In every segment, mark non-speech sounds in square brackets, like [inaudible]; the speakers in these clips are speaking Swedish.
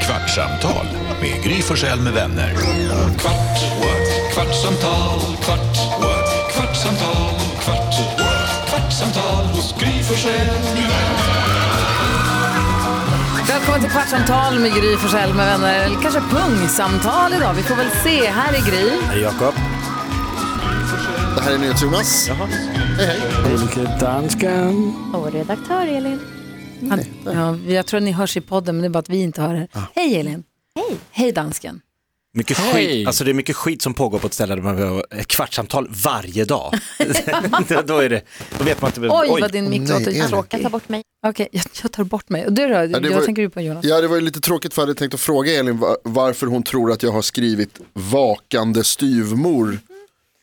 Kvartsamtal med Gry Forssell med vänner. Kvart, what? kvartsamtal, kvart, what? kvartsamtal, kvart, what? kvartsamtal hos Gry Forssell med vänner. Välkommen till Kvartsamtal med Gry Forssell med vänner. Eller kanske pungsamtal idag. Vi får väl se. Här är Gry. Jakob. Det här är NyhetsJonas. Hej, hej. Vilket danskan. Och redaktör Elin. Han, ja, jag tror att ni hörs i podden, men det är bara att vi inte hör det. Ah. Hej Elin. Hej. Hej dansken. Mycket Hej. skit, alltså det är mycket skit som pågår på ett ställe där man behöver ett kvartssamtal [laughs] varje dag. då, är det, då vet man inte. Oj, vad din mick nej, låter Elin. tråkig. Jag tar bort mig. Okej, jag, jag tar bort mig. Och Du då? det Vad var- tänker du på Jonas? Ja, det var ju lite tråkigt för jag hade tänkt att fråga Elin va- varför hon tror att jag har skrivit vakande styvmor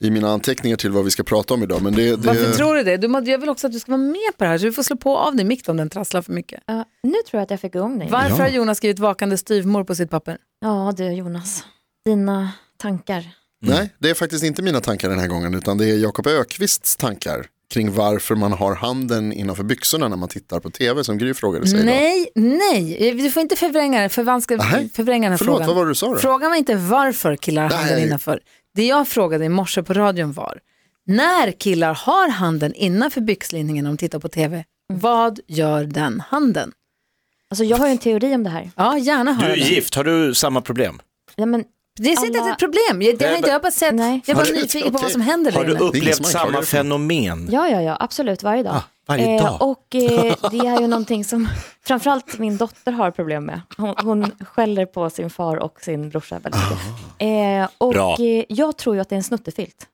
i mina anteckningar till vad vi ska prata om idag. Men det, det... Varför tror du det? Du, må- jag vill också att du ska vara med på det här, så du får slå på av din mick om den trasslar för mycket. Ja, nu tror jag att jag fick igång dig. Varför har Jonas skrivit vakande styvmor på sitt papper? Ja du Jonas, dina tankar. Nej, det är faktiskt inte mina tankar den här gången utan det är Jakob Ökvists tankar kring varför man har handen innanför byxorna när man tittar på tv som Gry frågade sig idag. Nej, nej, du får inte förvränga, det, förvanska, Nej. förvränga den här Förlåt, frågan. vad var det du sa då? Frågan var inte varför killar har handen Nej. innanför. Det jag frågade i morse på radion var, när killar har handen innanför byxlinningen när de tittar på tv, vad gör den handen? Alltså jag har ju en teori om det här. Ja, gärna Du höra är den. gift, har du samma problem? Ja, men, Det är inte Alla- ett problem, jag, det har Nej, inte, jag har bara sett, Nej. jag var Har du- nyfiken på okej. vad som händer där Har du inne. ingen som upplevt anklagar samma dig. fenomen? ja, ja, ja, absolut varje dag. Ah, varje dag. [laughs] och eh, det är ju någonting som framförallt min dotter har problem med. Hon, hon skäller på sin far och sin brorsa väldigt mycket. Ah. Eh, Bra. och eh, jag tror ju att det är en snuttefilt.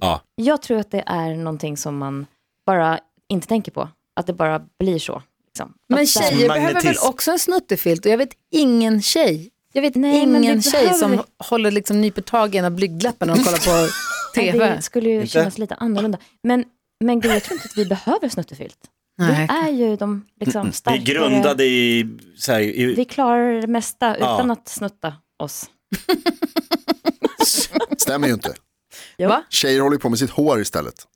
Ja. Jag tror att det är någonting som man bara inte tänker på. Att det bara blir så. Liksom. Men Att där- tjejer behöver väl Magnetism. också en snuttefilt och jag vet ingen tjej, jag vet Nej, men ingen vi tjej som behöver- håller liksom nyper tag i en av blygdläpparna och kollar på [laughs] Nej, tv. Det skulle ju Inte? kännas lite annorlunda. Men, men gud, jag tror inte att vi behöver snuttefilt. Nej. Vi är ju de liksom, Mm, Vi är starkare. grundade i, så här, i Vi klarar det mesta Ja. utan att snutta oss. Stämmer ju inte. Va? Tjejer håller ju på med sitt hår istället.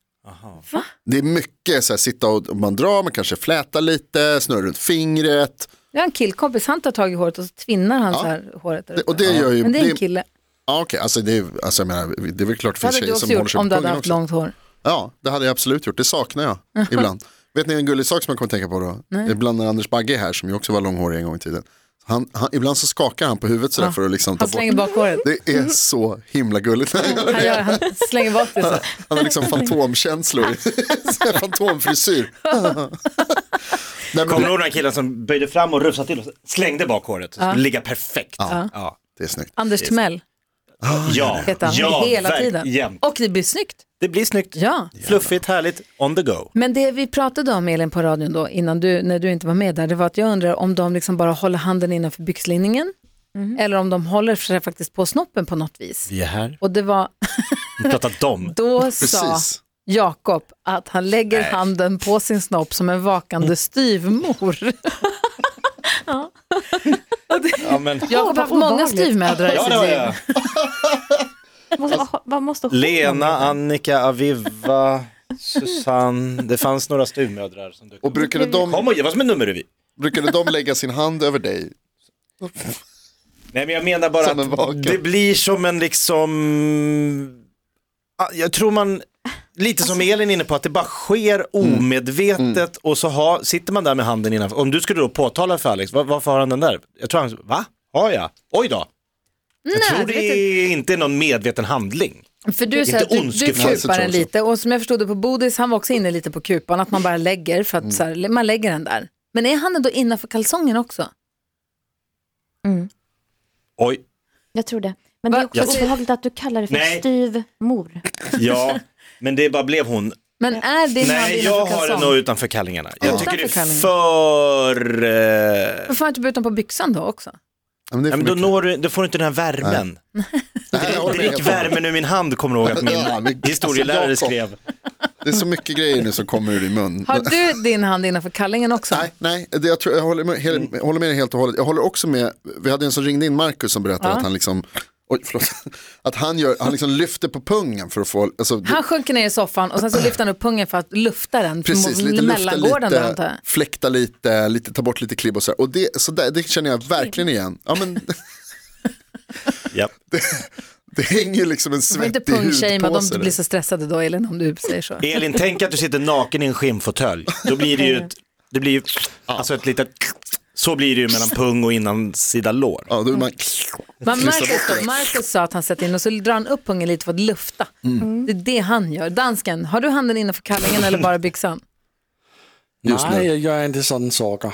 Det är mycket så här, sitta och man drar, man kanske flätar lite, snurrar runt fingret. Jag har en killkompis, han tar tag i håret och så tvinnar han så här håret där Det- uppe. och det gör ju- Men det är en det- kille. Ja, okej, alltså, det, är- alltså, jag menar, det är väl klart det Det finns hade du tjejer också som håller gjort sig om på du hade pungen haft också. långt hår. Ja, det hade jag absolut gjort. Det saknar jag [laughs] ibland. Vet ni en gullig sak som jag kommer att tänka på då? Ibland när Anders Bagge är här, som ju också var långhårig en gång i tiden. Han, han, ibland så skakar han på huvudet sådär för att liksom ta Han bort. slänger Mm. bak håret. Det är så himla gulligt. när han gör Han, det. gör, han slänger bak det så. [laughs] Han har liksom [laughs] fantomkänslor. [laughs] Så här Fantomfrisyr. Nej, men Kommer du det, ihåg den här killen som böjde fram och rufsade till och slängde bak håret? Det skulle ligga perfekt. Ja, ja. det är snyggt. Anders Timell ja. heter han hela tiden. verkligen. Och det blir snyggt. Det blir snyggt. Ja. Fluffigt, härligt, on the go. Men det vi pratade om Elin på radion då, innan du, när du inte var med där, det var att jag undrar om de liksom bara håller handen innanför byxlinningen eller om de håller sig faktiskt på snoppen på något vis. Vi är här. Och det var, [laughs] Vi pratar dom. då sa Precis. Jakob att han lägger handen på sin snopp som en Mm. vakande styvmor. Ja, men... Jag har haft många obehagligt. styvmödrar i Ja, det sitt var liv. jag. Vad, vad, vad måste hon Lena, göra? Annika, Aviva, Susanne. Det fanns några styvmödrar som dök Och upp. brukade de, Kom och ge oss en nummerrevy. brukade de lägga sin hand över dig? Nej men jag menar bara Som en vaken. att det blir som en liksom, Ah, jag tror man, lite som Elin är inne på, att det bara sker omedvetet och så ha, sitter man där med handen innanför. Om du skulle då påtala för Alex, var, varför har han den där? Jag tror han, va? Har jag? Oj då. Jag tror det det är inte någon medveten handling. För du Inte säger att du, du ondskefullt, så kupar tror den jag så. lite och som jag förstod det på Bodis, han var också inne lite på kupan, att man bara lägger för att så här, man lägger den där. Men är han då innanför kalsongen också? Oj, Jag tror det. Men det är Va? också Jag- obehagligt att du kallar det för Nej. styvmor. ja, men det bara blev hon. Men är din hand Nej, jag innanför har den kalsong? nog utanför kallingarna. Jag tycker det Utanför är kallingarna. för... Eh... Varför har jag inte burit den på byxan då också? Ja, men det är Ja, för men då, mycket. når du, då får du inte den här värmen. Nej, jag håller med Drick helt och hållet. värmen ur min hand kommer jag ihåg att Ja, min men- historielärare alltså, skrev. Det är så mycket grejer nu som kommer ur din mun. Har du din hand innanför kallingen också? Nej, nej det, jag, Mm. tror, jag håller, med, hel, jag håller med dig helt och hållet. Jag håller också med, vi hade en som ringde in Marcus som berättade att han liksom oj, förlåt, att han, gör, han liksom lyfter på pungen för att få, alltså, det- Han sjunker ner i soffan och sen så lyfter han upp pungen för att lufta den. Precis, mot lite lufta mellangården där antar jag. lite, fläkta lite, lite, ta bort lite klibb och så här. Och det, så där, det känner jag verkligen igen. Ja, men, [laughs] Japp. det hänger ju liksom en Du får inte svettig hud punkshamea, på de sig. blir där. så stressade då Elin om du säger så. Elin, tänk att du sitter naken i en skinnfåtölj. Då blir det ju, ett, det blir ju alltså ett litet, så blir det ju mellan pung och inansida lår. Ja, då är man, Man Kryssa Marcus, bort då, Marcus sa att han sätter in och så drar han upp pungen lite för att lufta. Mm. Det är det han gör. Dansken, har du handen innanför kallingen eller bara [laughs] byxan? Just nu. Nej, jag gör inte sådana saker.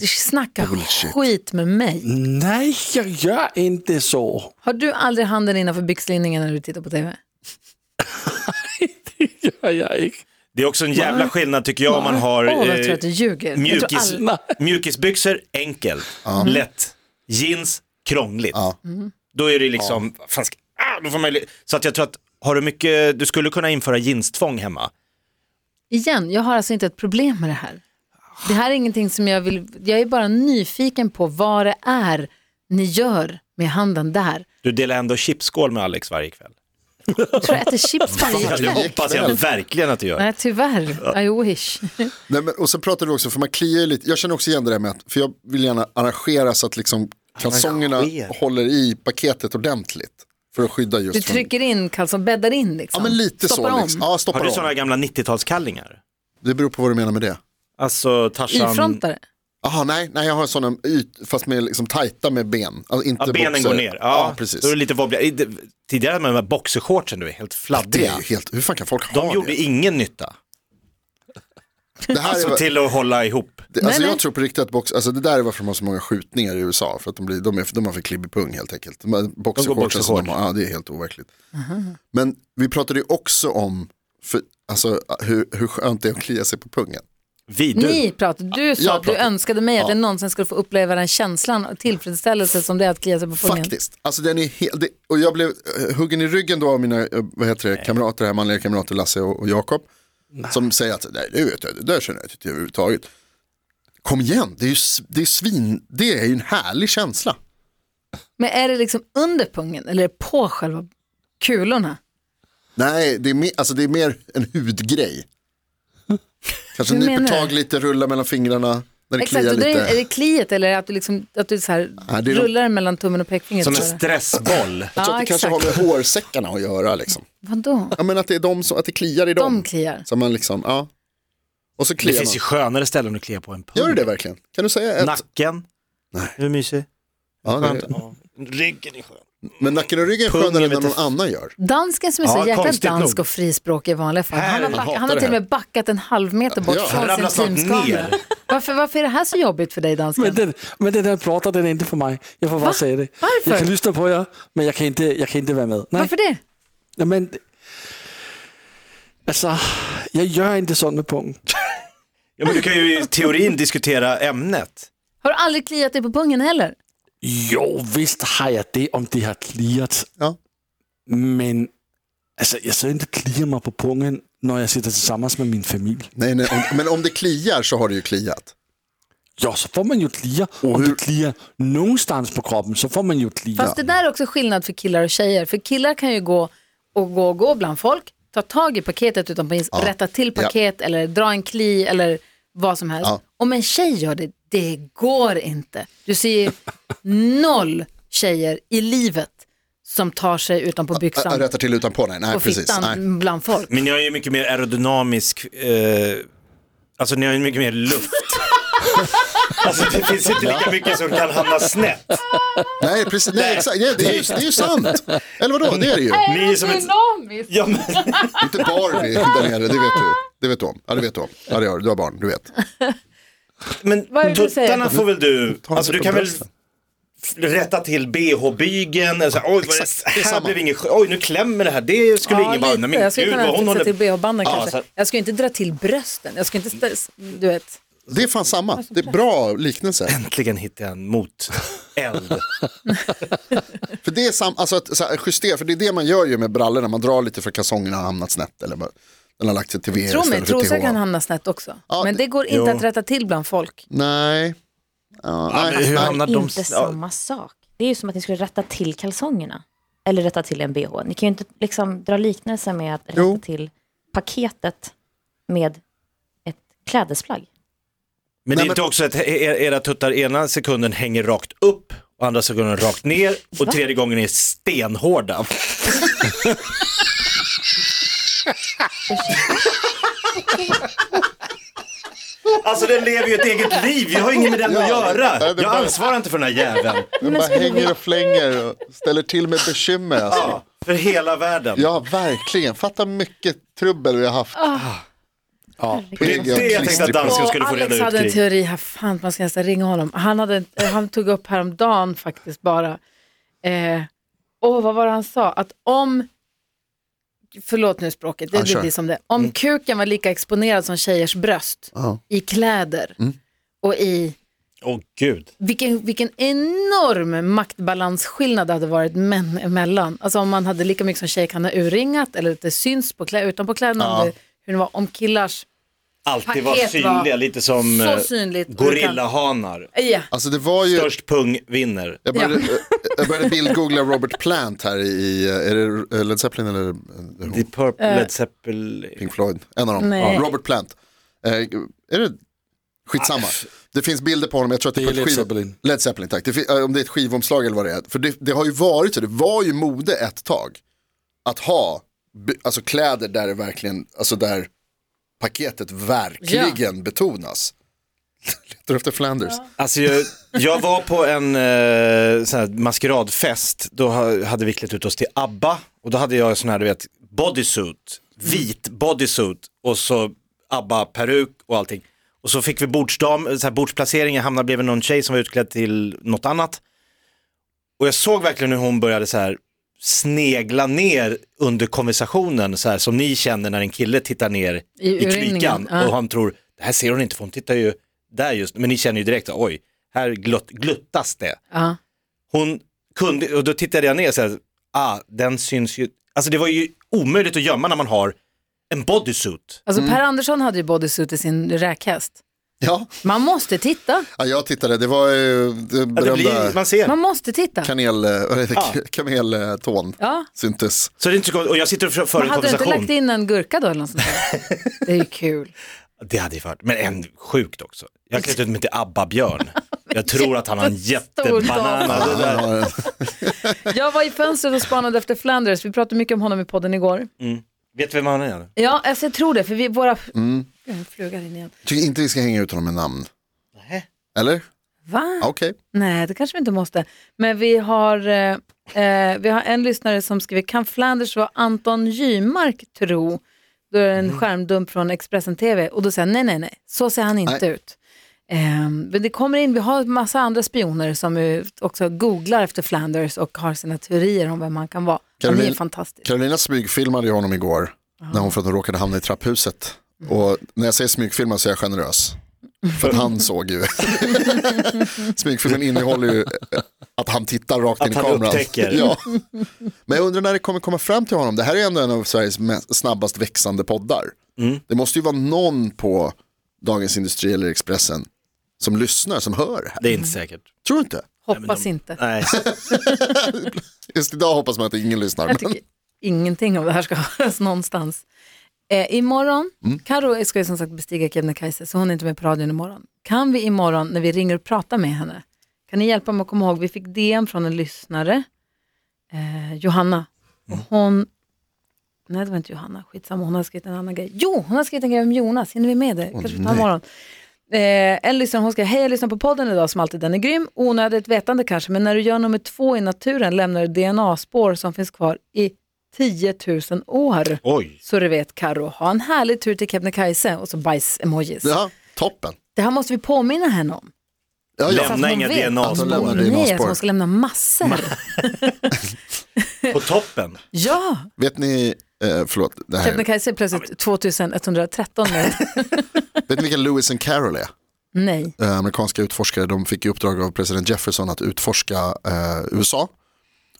Du snackar Bullshit. skit med mig. Mm. Nej, jag gör inte så. [laughs] Har du aldrig handen innanför byxlinningen när du tittar på tv? Det gör jag inte. Det är också en jävla skillnad tycker jag om man har Åh, vad jag tror eh, att du ljuger. Jag tror mjukis, aldrig- mjukisbyxor, enkelt, lätt, jeans, krångligt. Mm. Ja. Då är det liksom, fan ska, ah, då får man, ju- så att jag tror att har du mycket, du skulle kunna införa jeanstvång hemma. Igen, jag har alltså inte ett problem med det här. Det här är ingenting som jag vill, jag är bara nyfiken på vad det är ni gör med handen där. Du delar ändå chipsskål med Alex varje kväll. Jag tror jag äter chips varje [laughs] Ja, det kväll. hoppas jag verkligen att du gör. Nej, tyvärr. I wish. Nej, men, och sen pratar du också, för man kliar ju lite, jag känner också igen det där med att, för jag vill gärna arrangera så att liksom kalsongerna Arrangera. håller i paketet ordentligt. För att skydda just Du från- trycker in kalsong, bäddar in Ja liksom. men lite Stoppar så. om. Liksom. Ja, stoppar Har du om. sådana gamla 90-talskallingar? Det beror på vad du menar med det. Alltså Tarzan... Ifrontare. Jaha, nej, nej, jag har sådana yt, fast med liksom tajta med ben. Alltså, inte Ja, benen boxer. går ner. Ja, ja precis. Då är det lite wobbligare. I- det- Tidigare hade man de här boxershortsen, du är helt Det fladdriga. är ju helt, hur fan kan folk De ha gjorde det? ingen nytta. Det här är, Alltså till att hålla ihop. det, alltså Nej, nej. jag tror på riktigt att box, alltså det där är varför de har så många skjutningar i USA. För att de, blir, de, är, de har för klibbig pung helt enkelt. De här Boxershortsen som de boxershorts. har, ja, det är helt overkligt. Men vi pratade ju också om för, alltså, hur, hur skönt det är att klia sig på pungen. Vidrigt. Ni pratade, du sa jag att du pratade. önskade mig att Ja. jag någonsin skulle få uppleva den känslan och tillfredsställelse som det är att klia sig på pungen. Faktiskt. Alltså den är helt, det, och jag blev eh, huggen i ryggen då av mina eh, vad heter det, kamrater, här, manliga kamrater Lasse och, och Jakob. Som säger att nej, det, vet jag, det där känner jag inte till överhuvudtaget. Kom igen, det är ju s- det är svin, det är ju en härlig känsla. Men är det liksom under pungen eller är det på själva kulorna? Nej, det är, me, alltså, det är mer en hudgrej. Kanske Hur menar nyper du? tag lite, rullar mellan fingrarna när det Exakt, kliar och då är, lite. det, är det kliet eller är det att du, liksom, att du så här Ja, det är de- rullar den mellan tummen och pekfingret? Som en så här? stressboll. Jag tror att Ja, det kanske har exakt. med hårsäckarna att göra. Liksom. Vadå? Ja, men att det, är de som, att det kliar i dem. De kliar. Så man liksom, ja. Och så Det kliar man. finns ju skönare ställen att klia på än pung. Gör du det verkligen? Kan du säga ett? Nacken. Nej. Hur mysig? ja, det är... Ja. Ryggen är skön. Men nacken och ryggen är Pung, skönare än jag när vet någon inte. annan gör. Dansken som är så Ja, jäkla konstigt dansk nog. och frispråkig i vanliga fall. Han har, Herregud. back, han har Hatar till och det med backat en halv meter bort Ja. Han från ramlar sin snart teamskamera. ner. Varför, varför är det här så jobbigt för dig dansken? Men den, men den här pratar den är inte för mig. Jag får bara säga det. Varför? Jag kan lyssna på er, men jag kan inte, jag kan inte vara med. Nej. Varför det? Ja, men, alltså, jag gör inte sånt med pung. Ja, men du kan ju i teorin diskutera ämnet. Har du aldrig kliat dig på pungen heller? Jo, visst har jag det om det har kliat. Ja. Men alltså, jag ska inte klia mig på pungen när jag sitter tillsammans med min familj. Nej, nej, om, men om det kliar så har det ju kliat. Ja, så får man ju klia. Om hur- det kliar någonstans på kroppen så får man ju klia. Fast det där är också skillnad för killar och tjejer. För killar kan ju gå och gå och gå bland folk, ta tag i paketet utan jeans, rätta till paket eller dra en kli eller vad som helst. Ja. Om en tjej gör det, det går inte. Du ser [laughs] ju noll tjejer i livet som tar sig utan på Jag- jag byxan Rättar till utanpå, nej, nej och precis. fittan Nej. bland folk. Men jag är ju mycket mer aerodynamisk. Eh, alltså ni har ju mycket [laughs] mer luft. alltså det finns inte lika mycket som kan hamna snett. nej, precis. Nej, exakt. Nej, det, är ju, det är ju sant. Eller vadå, det är det ju. Ni är som ett... [laughs] Ja, men... Inte Barbie där nere, det vet du. Det vet du om. Ja, det vet du om. Ja, det gör du. Du har barn, du vet. Men Vad är det du säger? tuttarna får väl du, en alltså du sipp kan på väl brösten. f- rätta till bh-bygeln, eller så här, oj, vad är Exakt, det är det, här samma. blev ingen, skö- oj nu klämmer det här, det skulle ingen bara, nej lite. men Jag skulle gud kunna vad hon fixa håller, till bh-banden Ja, så kanske. här. Jag skulle inte dra till brösten. Jag skulle inte, stä- du vet. Det är fan samma. Det är bra liknelse. äntligen hittade jag en mot [laughs] eld. För det är sam, alltså att så här, justera, för det är det man gör ju med brallorna. Man drar lite för kalsongerna har hamnat snett eller bara- den har lagt sig till VR Tro mig, istället för trosor TH. kan hamna snett också. Ja, Men det går inte jo. att rätta till bland folk. Nej. Ja, Ja, men nej. hur hamnar de? Inte ja, samma sak. Det är ju som att ni skulle rätta till kalsongerna. eller rätta till en bh. Ni kan ju inte liksom dra liknelser med att rätta Jo. till paketet med ett klädesplagg. Men det är Nej, inte också att e- e- era tuttar ena sekunden hänger rakt upp och andra sekunden rakt ner och Va? tredje gången [laughs] är stenhårda. Alltså den lever ju ett eget liv, jag har inget med den att Ja, nej, göra. det är Jag bara- ansvarar inte för den här jäveln. Den bara hänger och flänger och ställer till med bekymmer. Alltså. För hela världen. Ja, verkligen. Fatta mycket trubbel vi har haft. Ja. Det är Pigg och det jag tänkte att klistrig på. danska skulle Och få Alex reda hade en ut kring. teori, här, fan man ska nästan ringa honom. Han, hade, en- eh, han tog upp häromdagen faktiskt bara, eh, åh vad var det han sa, att om, förlåt nu språket, det, Ja, det kör. blir som det, Mm. om kuken var lika exponerad som tjejers bröst Ja. i kläder Mm. och i Åh gud. vilken, vilken enorm maktbalansskillnad det hade varit män emellan. Alltså om man hade lika mycket som tjejer kan ha urringat eller att det syns på klä, utanpå kläderna, Ja. om det, hur det var, om killars Alltid var Paket var synliga, lite som så eh, synligt. gorillahanar. Ja. Alltså det var ju, Störst pung vinner. jag började, eh, jag började bildgoogla Robert Plant här i, eh, är det Led Zeppelin eller eh, Deep Purple, Led Zeppelin. Pink Floyd? En av dem, Nej. Ja, Robert Plant. Eh, är det, skitsamma. Det finns bilder på honom, jag tror att det, Det är på ett Led skiv- Zeppelin. Led Zeppelin, tack. Det, fin- eh, om det är ett skivomslag eller vad det är. För det, det har ju varit så, det var ju mode ett tag. Att ha by- alltså kläder där det verkligen, alltså där paketet verkligen betonas. [laughs] Letar efter Flanders. Alltså jag, jag var på en eh, sån här maskeradfest, då ha- hade vi klätt ut oss till ABBA och då hade jag sån här du vet bodysuit, vit bodysuit och så ABBA-peruk och allting. Och så fick vi bordsdam, så här bordsplacering, jag hamnade bredvid någon tjej som var utklädd till något annat. Och jag såg verkligen hur hon började så här snegla ner under konversationen, så här som ni känner när en kille tittar ner I i, urringningen, klykan ja. och han tror, det här ser hon inte för hon tittar ju där just, men ni känner ju direkt, oj, här glutt, gluttas det. Ja. Hon kunde, och då tittade jag ner så här, ah, den syns ju, alltså det var ju omöjligt att gömma när man har en bodysuit. Alltså Per Andersson hade ju bodysuit i sin räkhäst. Ja, Man måste titta, ja, jag tittade, det var ju det Ja, Alltså det berömda blir, man ser. man måste titta. kanel, eh, vad heter det? Ja. K- [laughs] kameltån Ja. syntes. Så det är inte så konstigt, och jag sitter och för- för Man en hade du inte konversation. lagt in en gurka då eller något sånt där? Det är ju kul. Det hade ju varit, men en sjukt också. Jag har klätt ut mig till ABBA-björn. Jag tror att han har en jättestor jättebanana. Det där. Ja, Jag var i fönstret och spanade efter Flanders, vi pratade mycket om honom i podden igår. Vet du vem han är? Ja, alltså, jag tror det, för vi, våra... Mm. Jag har en fluga in igen. Tycker inte vi ska hänga ut honom med namn. Eller? Va? Ja, Okej. Nej, det kanske vi inte måste. Men vi har, eh, eh, vi har en lyssnare som skriver, kan Flanders vara Anton Gymark tro? Då är det en Mm. skärmdump från Expressen TV och då säger han, nej, nej, nej, så ser han inte Nej. ut. Eh, men det kommer in, vi har en massa andra spioner som eh, också googlar efter Flanders och har sina teorier om vem han kan vara. han är ju Caroline- fantastisk. Carolina smygfilmade ju honom igår när hon för att hon råkade hamna i trapphuset. Och när jag säger smygfilmad så är jag generös. För att han [laughs] såg ju. Smygfilmen innehåller ju att han tittar rakt in i han kameran. upptäcker. Ja. Men jag undrar när det kommer komma fram till honom. Det här är ändå en av Sveriges mest- snabbast växande poddar. Mm. Det måste ju vara någon på Dagens Industri eller Expressen som lyssnar, som hör det här. Det är inte säkert. Tror du inte? Hoppas inte. Nej. Just idag hoppas man att ingen lyssnar. Jag men- tycker ingenting av det här ska [laughs] höras någonstans. Eh, imorgon, Karo ska ju som sagt bestiga Kebnekaise så hon är inte med på radion imorgon. Kan vi imorgon när vi ringer och pratar med henne, kan ni hjälpa mig att komma ihåg, vi fick DM från en lyssnare, eh, Johanna, och hon, nej det var inte Johanna, skitsamma, hon har skrivit en annan grej. Jo, hon har skrivit en grej om Jonas, hinner vi med det? Kanske vi tar imorgon. Eh, en lyssnare hon skrev, hej jag lyssnar på podden idag som alltid, den är grym, onödigt vetande kanske, men när du gör nummer två i naturen lämnar du DNA-spår som finns kvar i 10 000 år. Oj. Så du vet Karo, ha en härlig tur till Kebnekaise och så bajs-emojis. Ja, toppen. Det här måste vi påminna henne om. Ja, Så ja. att Lämna hon inga vet. Alltså, DNA-spår lämna Nej, alltså DNA-spår. hon ska lämna massor. på toppen. ja, Vet ni, eh, förlåt, det här. Kebnekaise är plötsligt 2113 nu. Vet ni vilka Lewis and Carroll är? Nej, Eh, amerikanska utforskare, de fick i uppdrag av president Jefferson att utforska eh, USA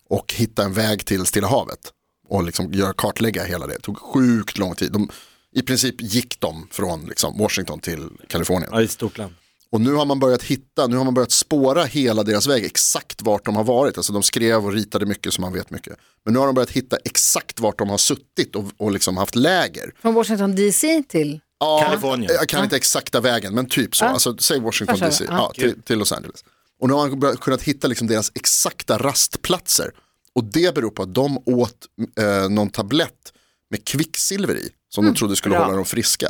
och hitta en väg till Stilla havet och liksom göra kartlägga hela det. Det tog sjukt lång tid. De, I princip gick de från liksom, Washington till Kalifornien. Ja, i ett stort land. Och nu har man börjat hitta, nu har man börjat spåra hela deras väg, exakt vart de har varit. Alltså de skrev och ritade mycket så man vet mycket. Men nu har de börjat hitta exakt vart de har suttit och, och liksom haft läger. Från Washington DC till... Ja, Kalifornien. Jag kan inte exakta vägen, men typ så. Alltså, säg Washington Förstår DC, jag. ja, till, till Los Angeles. Och nu har man börjat- kunnat hitta liksom deras exakta rastplatser. Och det beror på att de åt eh, någon tablett med kvicksilver i, som de trodde skulle bra. hålla dem friska.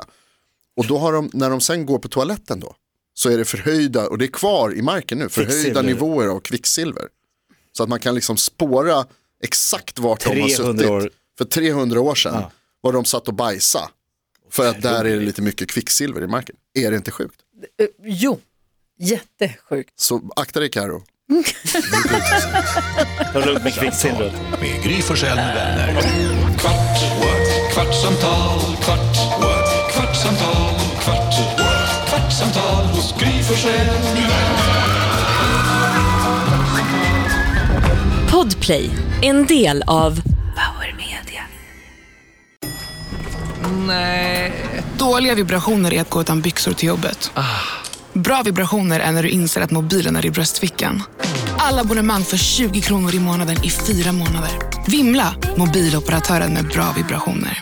Och då har de, när de sen går på toaletten då, så är det förhöjda, och det är kvar i marken nu, förhöjda Kvicksilver. nivåer av kvicksilver. Så att man kan liksom spåra exakt vart de har 300 suttit. år. För 300 år sedan var de satt och bajsa. För att där är det lite mycket kvicksilver i marken. Är det inte sjukt? Eh, Jo, jättesjukt. Så akta dig Karo. Ta det lugnt med kvicksilvret. Med Gry Forssell med vänner. Kvart, what? kvartsamtal, kvart, what? kvartsamtal, kvart, what? kvartsamtal hos Gry Forssell med vänner. Podplay, en del av Power Media. Nej. Dåliga vibrationer är att gå utan byxor till jobbet. Ah. Bra vibrationer är när du inser att mobilen är i bröstfickan. Alla abonnemang för 20 kronor i månaden i fyra månader. Vimla! Mobiloperatören med bra vibrationer.